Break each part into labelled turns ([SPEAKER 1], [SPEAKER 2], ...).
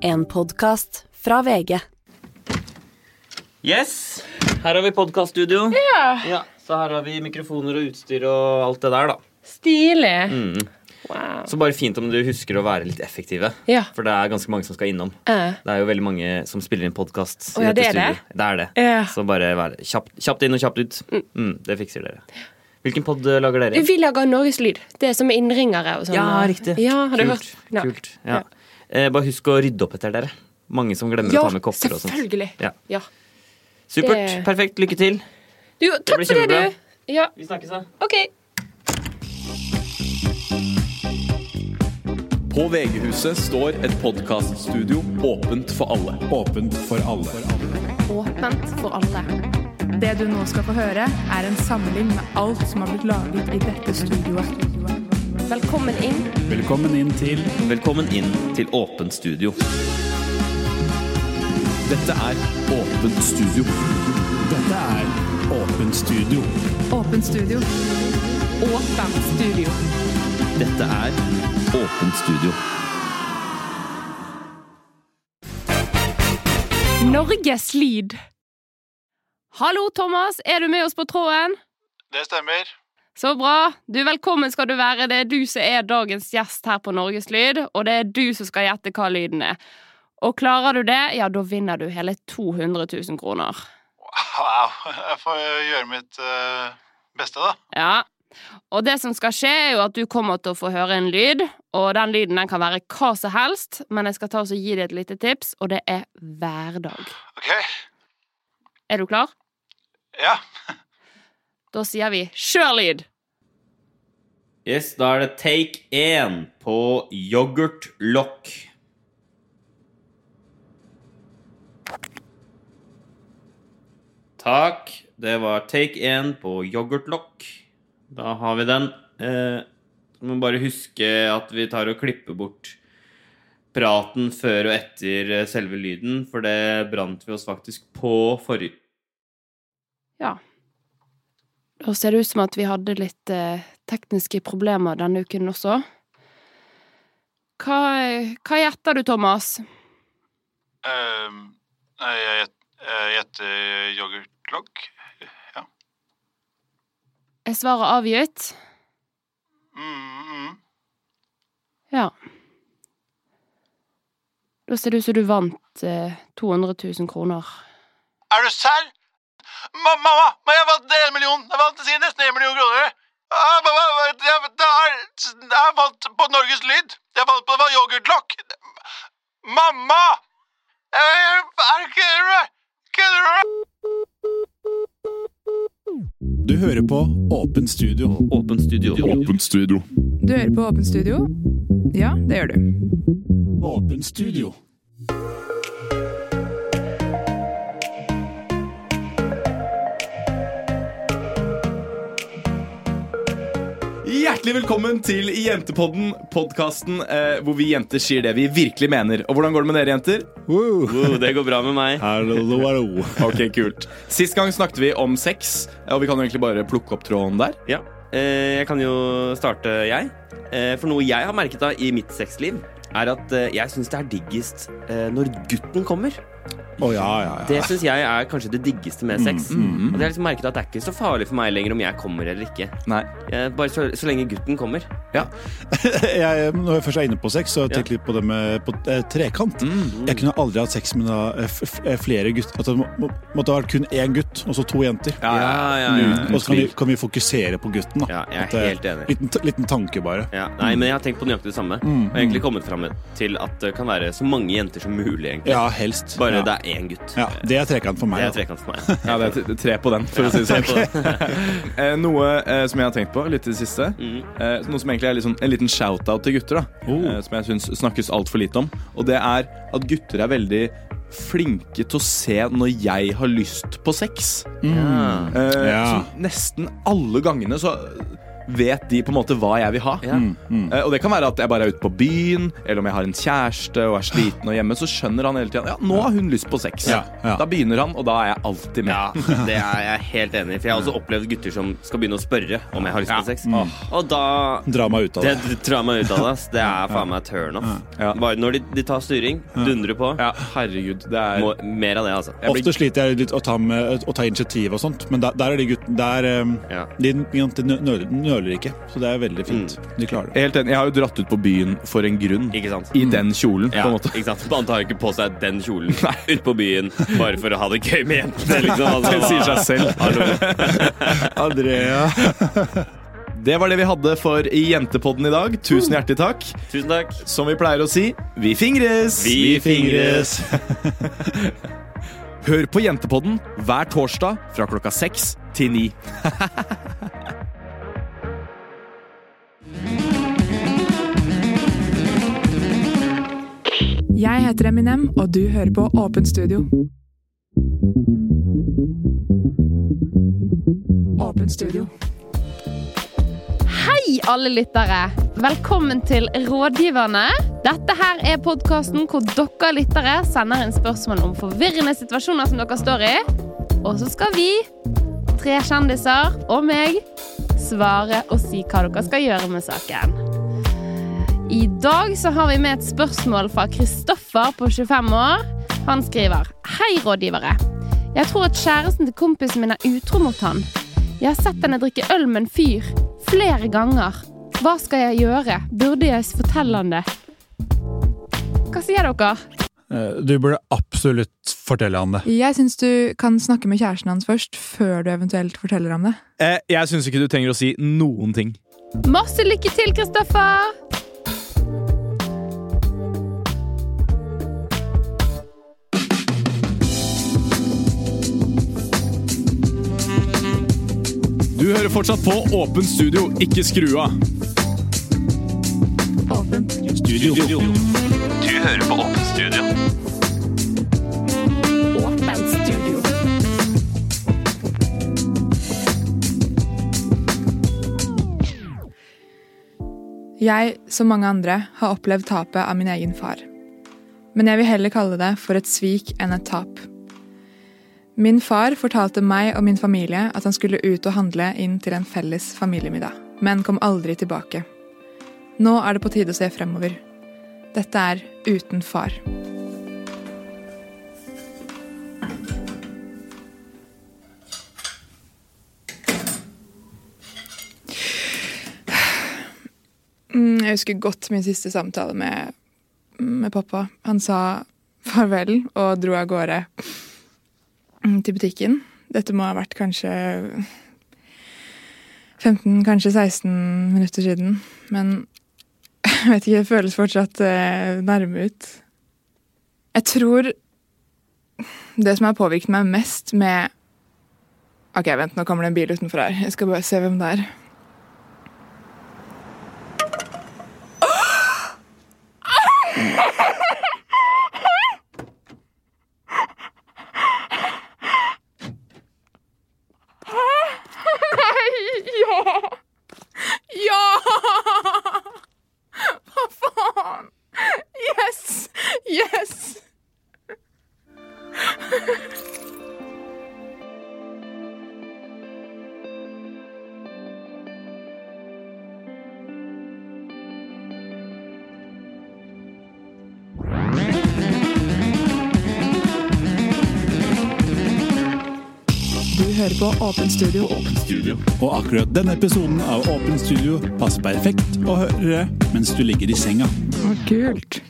[SPEAKER 1] En podkast fra VG.
[SPEAKER 2] Yes. Her har vi podkaststudio.
[SPEAKER 3] Ja,
[SPEAKER 2] Ja, så her har vi mikrofoner og utstyr og alt det der, da.
[SPEAKER 3] stilig.
[SPEAKER 2] Mm. Wow. Så bare fint om du husker å være litt effektive.
[SPEAKER 3] Ja.
[SPEAKER 2] For det er ganske mange som skal innom.
[SPEAKER 3] Eh,
[SPEAKER 2] Det er jo veldig mange som spiller inn podkast.
[SPEAKER 3] Å ja, det er
[SPEAKER 2] Det er det.
[SPEAKER 3] Ja.
[SPEAKER 2] Så bare vær kjapt, kjapt inn og kjapt ut. Mm, det fikser dere. Hvilken pod eh, lager dere?
[SPEAKER 3] Vi lager Norgeslyd. Det er som med innringere og sånn.
[SPEAKER 2] Ja, riktig.
[SPEAKER 3] Ja, har du
[SPEAKER 2] Kult,
[SPEAKER 3] hørt? Ja.
[SPEAKER 2] Kult. Ja. Eh, bare husk å rydde opp etter dere. Mange som glemmer
[SPEAKER 3] Ja,
[SPEAKER 2] å ta med kopper og sånt.
[SPEAKER 3] selvfølgelig.
[SPEAKER 2] Ja.
[SPEAKER 3] Ja.
[SPEAKER 2] Supert.
[SPEAKER 3] Det-
[SPEAKER 2] Perfekt. Lykke til.
[SPEAKER 3] Du, takk
[SPEAKER 2] blir
[SPEAKER 3] for det,
[SPEAKER 2] kjempebra.
[SPEAKER 3] du. Ja,
[SPEAKER 2] Vi snakkes, da.
[SPEAKER 3] OK.
[SPEAKER 4] På VG-huset står et podkaststudio åpent for alle. Åpent for alle.
[SPEAKER 5] åpent for alle. Det du nå skal få høre, er en samling med alt som har blitt laget i dette studioet.
[SPEAKER 3] Velkommen inn.
[SPEAKER 4] Velkommen inn til
[SPEAKER 2] Velkommen inn til Åpent studio.
[SPEAKER 4] Dette er Åpent studio. Dette er Åpent studio.
[SPEAKER 5] Åpent studio. Åpent studio.
[SPEAKER 4] Dette er Åpent studio.
[SPEAKER 3] Norgeslyd. Hallo, Thomas. Er du med oss på tråden?
[SPEAKER 6] Det stemmer.
[SPEAKER 3] Så bra. Du, Velkommen skal du være. Det er du som er dagens gjest her på Norgeslyd, og det er du som skal gjette hva lyden er. Og klarer du det, ja, da vinner du hele 200 000 kroner.
[SPEAKER 6] Wow. Jeg får gjøre mitt eh, beste, da.
[SPEAKER 3] Ja. Og det som skal skje, er jo at du kommer til å få høre en lyd, og den lyden den kan være hva som helst, men jeg skal ta og så gi deg et lite tips, og det er hverdag.
[SPEAKER 6] OK?
[SPEAKER 3] Er du klar?
[SPEAKER 6] Ja.
[SPEAKER 3] Da sier vi sjølyd.
[SPEAKER 2] Yes, da er det take 1 på yoghurtlokk. Takk. Det var take 1 på yoghurtlokk. Da har vi den. Eh, vi må bare huske at vi tar og klipper bort praten før og etter eh, selve lyden, for det brant vi oss faktisk på forrige
[SPEAKER 3] Ja. Da ser det ut som at vi hadde litt eh, tekniske problemer denne uken også. Hva, hva gjetter du, Thomas?
[SPEAKER 6] Ehm, nei, jeg gjet- jeg gjetter yoghurtlokk.
[SPEAKER 3] Er svaret avgitt?
[SPEAKER 6] Mm, mm.
[SPEAKER 3] Ja. Da ser det ut som du vant eh, 200 000 kroner.
[SPEAKER 6] Er du serr? Ma mamma, ma, jeg vant en million! Jeg vant si nesten en million kroner! Ah, mamma, jeg, det er, jeg vant på Norges Lyd! Jeg vant på det var yoghurtlokk! Mamma! Jeg, jeg, er du kødder du? meg? Kødder du? meg?
[SPEAKER 7] Du hører på Åpent studio.
[SPEAKER 2] Åpent studio.
[SPEAKER 4] Åpent studio.
[SPEAKER 5] Du hører på Åpent studio? Ja, det gjør du.
[SPEAKER 7] Åpent studio.
[SPEAKER 8] Hjertelig velkommen til Jentepodden, podkasten eh, hvor vi jenter sier det vi virkelig mener. Og hvordan går det med dere, jenter?
[SPEAKER 2] Wow, Uh, det går bra med meg.
[SPEAKER 7] Hallo, hallo.
[SPEAKER 8] Ok, kult Sist gang snakket vi om sex, og vi kan jo egentlig bare plukke opp tråden der.
[SPEAKER 2] Ja, eh, jeg kan jo starte jeg. Eh, for noe jeg har merket da i mitt sexliv, er at eh, jeg syns det er diggest eh, når gutten kommer.
[SPEAKER 7] Å ja, ja, ja.
[SPEAKER 2] Det syns jeg er kanskje det diggeste med sex.
[SPEAKER 7] Mm,
[SPEAKER 2] At jeg har liksom merket at det er ikke så farlig for meg lenger om jeg kommer eller ikke.
[SPEAKER 8] Nei.
[SPEAKER 2] Eh, bare så, så lenge gutten kommer.
[SPEAKER 7] Jeg, når jeg først er inne på sex, så tenker jeg litt på det med på, eh, trekant.
[SPEAKER 2] Mm.
[SPEAKER 7] Jeg kunne aldri hatt sex med da, eh, f f eh, flere gutter. At det må, må, måtte ha vært kun én gutt, og så to jenter. Mm.
[SPEAKER 8] Ja,
[SPEAKER 2] ja,
[SPEAKER 7] Og så kan vi, kan vi fokusere på gutten. da
[SPEAKER 2] Ja, jeg er
[SPEAKER 7] At, eh,
[SPEAKER 2] helt enig.
[SPEAKER 7] Liten, t- liten tanke, bare.
[SPEAKER 2] Ja, nei, men jeg har tenkt på nøyaktig det samme.
[SPEAKER 7] Mm,
[SPEAKER 2] Og egentlig kommet fram til at det kan være så mange jenter som mulig. egentlig
[SPEAKER 7] Ja, helst.
[SPEAKER 2] Bare
[SPEAKER 7] ja.
[SPEAKER 2] det er én gutt.
[SPEAKER 7] Ja, det er trekant for
[SPEAKER 2] Det
[SPEAKER 7] meg.
[SPEAKER 2] er trekant for meg.
[SPEAKER 8] Ja, det er t- tre på den, for å si det sånn. Eh, noe eh, som jeg har tenkt på litt i det siste, eh, noe som egentlig er litt sånn- en liten shout-out til gutter, da,
[SPEAKER 7] Oh.
[SPEAKER 8] eh, som jeg syns snakkes altfor lite om, og det er at gutter er veldig flinke til å se når jeg har lyst på sex.
[SPEAKER 2] Ja.
[SPEAKER 8] Eh,
[SPEAKER 7] Ja.
[SPEAKER 8] Så nesten alle gangene så vet de på en måte hva jeg vil ha.
[SPEAKER 2] Ja. Mm,
[SPEAKER 8] Eh, Og det kan være at jeg bare er ute på byen, eller om jeg har en kjæreste og er sliten og hjemme, så skjønner han hele tiden Ja, nå har hun lyst på sex.
[SPEAKER 7] Ja, ja.
[SPEAKER 8] Da begynner han, og da er jeg alltid med.
[SPEAKER 2] Ja, det er jeg helt enig i. For jeg har også opplevd gutter som skal begynne å spørre om jeg har lyst på sex.
[SPEAKER 8] Mm.
[SPEAKER 2] Og da
[SPEAKER 7] Dra meg ut av
[SPEAKER 2] Det
[SPEAKER 7] det.
[SPEAKER 2] drar meg ut av det. ass. Det er faen meg turn off.
[SPEAKER 8] Ja.
[SPEAKER 2] Bare når de, de tar styring, dundrer på.
[SPEAKER 8] Ja, herregud. Det er
[SPEAKER 2] Må, mer av det, altså.
[SPEAKER 8] jeg blir-
[SPEAKER 7] Ofte sliter jeg litt å ta, med, å ta initiativ og sånt, men der, der er de guttene Der um,
[SPEAKER 2] Ja.
[SPEAKER 7] de, de nøler, nøler ikke, så det er
[SPEAKER 8] Mm.
[SPEAKER 7] veldig fint. De klarer det.
[SPEAKER 8] Helt enig. Jeg har jo dratt ut på byen for en grunn.
[SPEAKER 2] Ikke sant?
[SPEAKER 8] I den kjolen,
[SPEAKER 2] Ja,
[SPEAKER 8] på en måte.
[SPEAKER 2] ikke sant? Man tar jo ikke på seg den kjolen ute på byen bare for å ha det gøy med jentene. Liksom. Altså,
[SPEAKER 8] Det sier seg selv.
[SPEAKER 2] Hallo.
[SPEAKER 7] Andrea.
[SPEAKER 8] Det var det vi hadde for i Jentepodden i dag. Tusen hjertelig takk.
[SPEAKER 2] Tusen takk.
[SPEAKER 8] Som vi pleier å si, vi fingres!
[SPEAKER 2] Vi fingres.
[SPEAKER 8] Hør på Jentepodden hver torsdag fra klokka seks til ni.
[SPEAKER 5] Jeg heter Eminem, og du hører på Åpent studio. Åpent studio.
[SPEAKER 3] Hei, alle lyttere! Velkommen til Rådgiverne. Dette her er podkasten hvor dere lyttere sender inn spørsmål om forvirrende situasjoner som dere står i. Og så skal vi, tre kjendiser og meg, svare og si hva dere skal gjøre med saken. I dag så har vi med et spørsmål fra Kristoffer på 25 år. Han skriver Hei, rådgivere. Jeg tror at kjæresten til kompisen min er utro mot han. Jeg har sett henne drikke øl med en fyr flere ganger. Hva skal jeg gjøre? Burde jeg fortelle han det? Hva sier dere?
[SPEAKER 7] Eh, Du burde absolutt fortelle han det.
[SPEAKER 5] Jeg syns du kan snakke med kjæresten hans først, før du eventuelt forteller ham det.
[SPEAKER 8] Eh, jeg syns ikke du trenger å si noen ting.
[SPEAKER 3] Masse lykke til, Kristoffer!
[SPEAKER 8] Du hører fortsatt på Åpen studio, ikke skru av.
[SPEAKER 9] Du hører på Åpen studio.
[SPEAKER 5] Jeg, som mange andre, har opplevd tapet av min egen far. Men jeg vil heller kalle det for et svik enn et tap. Min far fortalte meg og min familie at han skulle ut og handle inn til en felles familiemiddag, men kom aldri tilbake. Nå er det på tide å se fremover. Dette er uten far. Mm, Jeg husker godt min siste samtale med, med pappa. Han sa farvel og dro av gårde mm, til butikken. Dette må ha vært kanskje 15, kanskje 16 minutter siden. Men jeg vet ikke, det føles fortsatt eh, nærme ut. Jeg tror det som har påvirket meg mest med Ok, vent, nå kommer det en bil utenfor her. Jeg skal bare se hvem det er. Ja! Ja! Hva faen? Yes! Yes! Du hører på Åpen studio.
[SPEAKER 7] Og akkurat denne episoden av Åpen studio passer perfekt å høre mens du ligger i senga.
[SPEAKER 5] Kult.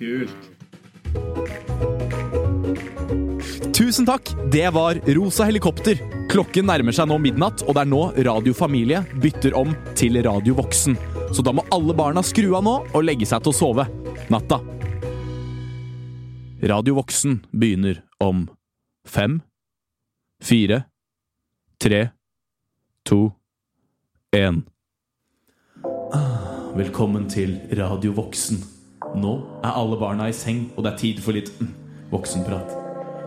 [SPEAKER 8] Tusen takk! Det var Rosa helikopter. Klokken nærmer seg nå midnatt, og det er nå Radio Familie bytter om til Radio Voksen. Så da må alle barna skru av nå og legge seg til å sove. Natta. Radio Voksen begynner om fem, fire, tre, to, én. Ah, Velkommen til Radio Voksen. Nå er alle barna i seng, og det er tid for litt mm, voksenprat.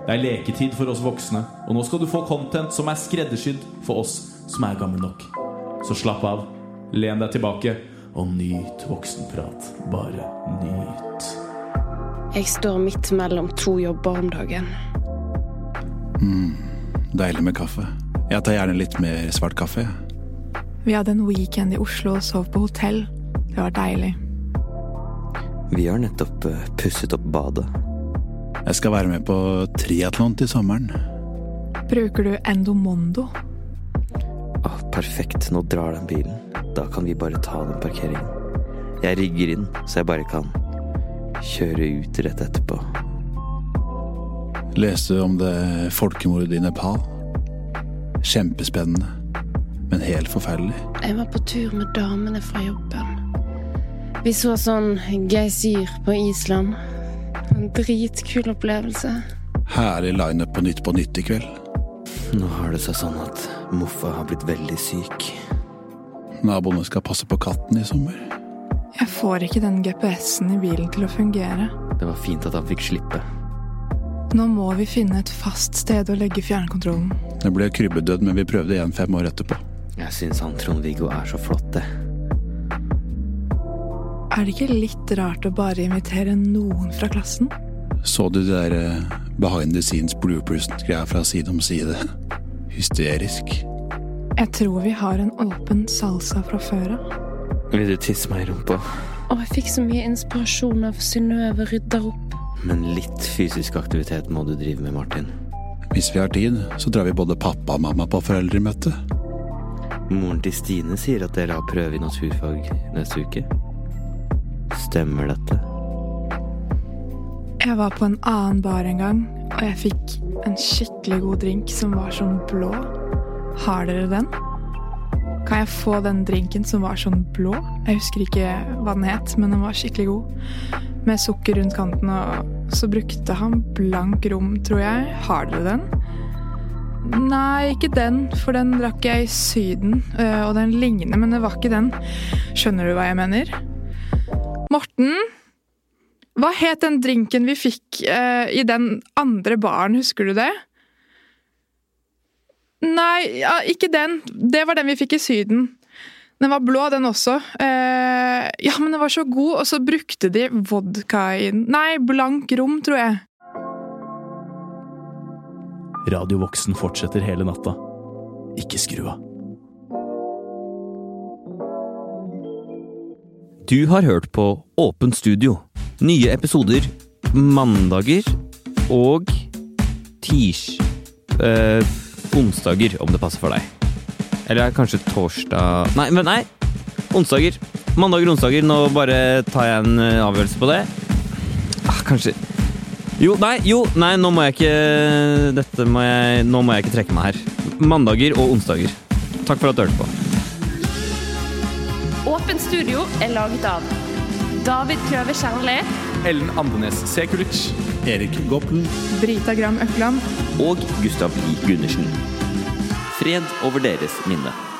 [SPEAKER 8] Det er leketid for oss voksne, og nå skal du få content som er skreddersydd for oss som er gamle nok. Så slapp av, Len deg tilbake og nyt voksenprat. Bare nyt.
[SPEAKER 3] Jeg står midt mellom to jobber om dagen.
[SPEAKER 7] Deilig med kaffe. Jeg tar gjerne litt mer svart kaffe. jeg.
[SPEAKER 5] Vi hadde en weekend i Oslo og sov på hotell. Det var deilig.
[SPEAKER 10] Vi har nettopp eh, pusset opp badet.
[SPEAKER 7] Jeg skal være med på triatlon til sommeren.
[SPEAKER 5] Bruker du Endomondo?
[SPEAKER 10] Ah, perfekt, nå drar den bilen. Da kan vi bare ta den parkeringen. Jeg rigger inn, så jeg bare kan kjøre ut rett etterpå.
[SPEAKER 7] Leste om det folkemordet i Nepal. Kjempespennende, men helt forferdelig.
[SPEAKER 3] Jeg var på tur med damene fra jobben. Vi så sånn geysir på Island. En dritkul opplevelse.
[SPEAKER 7] Herlig lineup på Nytt på Nytt i kveld.
[SPEAKER 10] Nå har det seg sånn at Moffa har blitt veldig syk.
[SPEAKER 7] Naboene skal passe på katten i sommer.
[SPEAKER 5] Jeg får ikke den GPS-en i bilen til å fungere.
[SPEAKER 10] Det var fint at han fikk slippe.
[SPEAKER 5] Nå må vi finne et fast sted å legge fjernkontrollen.
[SPEAKER 7] Det ble krybbedød, men vi prøvde igjen fem år etterpå.
[SPEAKER 10] Jeg syns han Trond-Viggo er så flott, det.
[SPEAKER 5] Er det ikke litt rart å bare invitere noen fra klassen?
[SPEAKER 7] Så du det der eh, behind the scenes bloopers-greia fra side om side? Hysterisk.
[SPEAKER 5] Jeg tror vi har en åpen salsa fra før av.
[SPEAKER 10] Vil du tisse meg i rumpa?
[SPEAKER 3] Og jeg fikk så mye inspirasjon av Synnøve rydder opp.
[SPEAKER 10] Men litt fysisk aktivitet må du drive med, Martin.
[SPEAKER 7] Hvis vi har tid, så drar vi både pappa og mamma på foreldremøte.
[SPEAKER 10] Moren til Stine sier at dere har prøve i naturfag neste uke. Stemmer dette?
[SPEAKER 5] Jeg var på en annen bar en gang, og jeg fikk en skikkelig god drink som var sånn blå. Har dere den? Kan jeg få den drinken som var sånn blå? Jeg husker ikke hva den het, men den var skikkelig god. Med sukker rundt kanten, og så brukte han blank rom, tror jeg. Har dere den? Nei, ikke den, for den drakk jeg i Syden, øh, og den ligner, men det var ikke den. Skjønner du hva jeg mener? Morten? Hva het den drinken vi fikk eh, i den andre baren, husker du det? Nei, ja, ikke den. Det var den vi fikk i Syden. Den var blå, den også. Eh, ja, men den var så god, og så brukte de vodka i den. Nei, blank rom, tror jeg.
[SPEAKER 8] Radio Voksen fortsetter hele natta. Ikke skru av.
[SPEAKER 2] Du har hørt på Åpent studio. Nye episoder mandager og tirs... Eh, onsdager, om det passer for deg. Eller kanskje torsdag Nei, men nei! Onsdager. Mandager og onsdager. Nå bare tar jeg en eh, avgjørelse på det. Ah, kanskje Jo, nei, jo, nei, nå må jeg ikke Dette må jeg Nå må jeg ikke trekke meg her. Mandager og onsdager. Takk for at du hørte på.
[SPEAKER 11] Åpent studio er laget av David Kløve Kjernli.
[SPEAKER 12] Ellen Andenes Sekulic.
[SPEAKER 7] Erik Goppel.
[SPEAKER 5] Brita Gram Økland.
[SPEAKER 10] Og Gustav I. Gundersen.
[SPEAKER 2] Fred over deres minne.